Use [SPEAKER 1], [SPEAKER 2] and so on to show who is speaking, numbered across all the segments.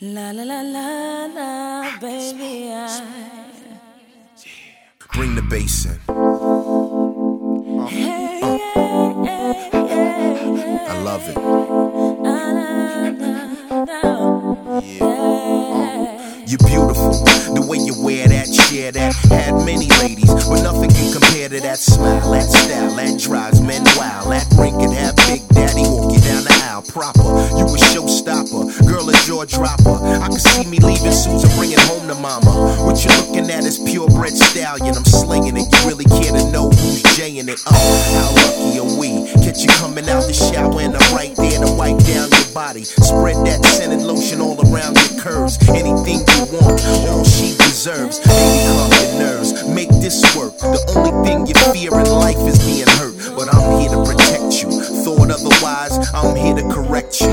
[SPEAKER 1] La la la la la, baby. I,
[SPEAKER 2] Bring the bass in.
[SPEAKER 1] hey, yeah, yeah, yeah, yeah.
[SPEAKER 2] I love it.
[SPEAKER 1] La, la, la, la.
[SPEAKER 2] You're beautiful. The way you wear that, share that. Had many ladies, but nothing can compare to that smile, that style, that drives men wild. That ring can have Big Daddy walk you down the aisle proper. You a showstopper, girl a jaw dropper. I can see me leaving Susan, bringing home to mama. What you looking at is purebred stallion. I'm slinging it. You really care to know who's jaying it. Oh, how lucky are we? Catch you coming out the shower and I'm right there to wipe down your body. Spread that scented lotion all around your curves. Anything you want, all she deserves. Baby, calm your nerves. Make this work. The only thing you fear in life is being hurt. But I'm here to protect you. Thought otherwise, I'm here to correct you.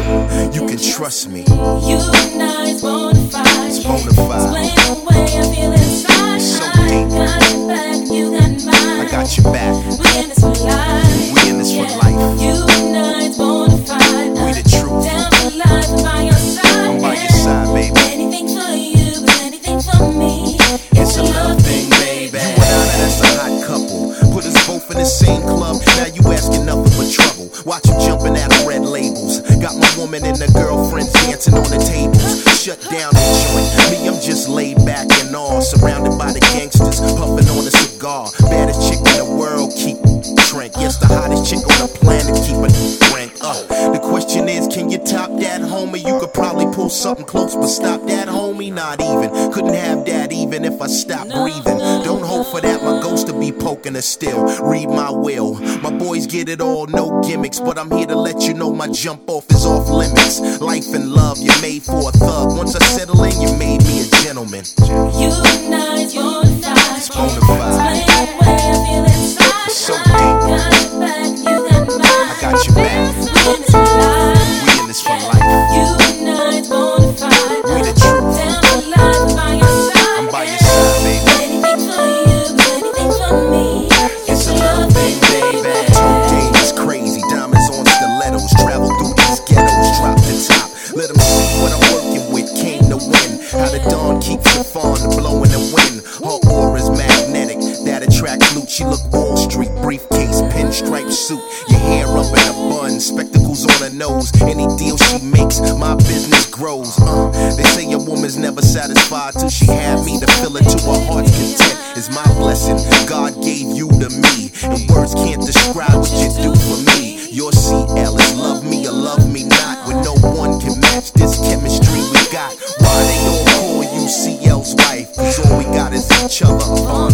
[SPEAKER 2] You can trust me.
[SPEAKER 1] You and I, it's bona fide.
[SPEAKER 2] It's bona fide.
[SPEAKER 1] Explain the way I feel inside.
[SPEAKER 2] So
[SPEAKER 1] I
[SPEAKER 2] deep.
[SPEAKER 1] got your back, you got mine.
[SPEAKER 2] I got your back.
[SPEAKER 1] We in this for life.
[SPEAKER 2] We in this for
[SPEAKER 1] Yeah.
[SPEAKER 2] life.
[SPEAKER 1] You and I, it's bona fide.
[SPEAKER 2] We the truth.
[SPEAKER 1] Down for life, I'm by your side.
[SPEAKER 2] I'm by your
[SPEAKER 1] Yeah.
[SPEAKER 2] side, baby.
[SPEAKER 1] Anything for you, but anything for me.
[SPEAKER 2] It's a love thing, baby. You and I, that's a hot couple. Put us both in the same club. Now you asking nothing but trouble. Watch you jumping out of red labels. Got my woman and the girlfriend dancing on the tables. Shut down the joint. Me, I'm just laid back and all. Surrounded by the gangsters, puffing on a cigar. Baddest chick in the world, keep drink. Yes, the hottest chick on the planet, keep a rank up. The question is, can you top that, homie? You could probably pull something close, but stop that, homie. Not even. Couldn't have that even if I stopped breathing. Don't hope for that, my ghost to be poking us still. Read my will. My boys get it all, no gimmicks. But I'm here to let you know my jump off is off limits. Life and love, you're made for a thug. Once I settle in, you made me a gentleman.
[SPEAKER 1] You and I, it's bona fide.
[SPEAKER 2] It's bona fide.
[SPEAKER 1] Explain the way I feel inside.
[SPEAKER 2] So
[SPEAKER 1] I got
[SPEAKER 2] deep.
[SPEAKER 1] your back, you got mine.
[SPEAKER 2] I got your back.
[SPEAKER 1] We in this for life.
[SPEAKER 2] We in this for life.
[SPEAKER 1] You and I, it's bona fide.
[SPEAKER 2] We the truth.
[SPEAKER 1] Down for life, I'm by your side.
[SPEAKER 2] I'm by your side, baby.
[SPEAKER 1] Anything for you, anything for me. It's a love thing, baby.
[SPEAKER 2] Two days crazy, diamonds on stilettos. Travel through these ghettos, drop the top. Let 'em see what I'm working with. Came to win. How the dawn keeps the fawn blowing the wind. Her aura's magnetic, that attracts loot. She look Wall Street, briefcase, pinstripe suit. Your hair up in a bun, spectacles on her nose. Any deal she makes, my business grows. Uh, they say a woman's never satisfied till she had me to fill it to her heart's content. It's my blessing God gave you to me. And words can't describe what you do for me. Your CL is love me or love me not. When no one can match this chemistry we got. Why they all call you CL's wife? Cause all we got is each other upon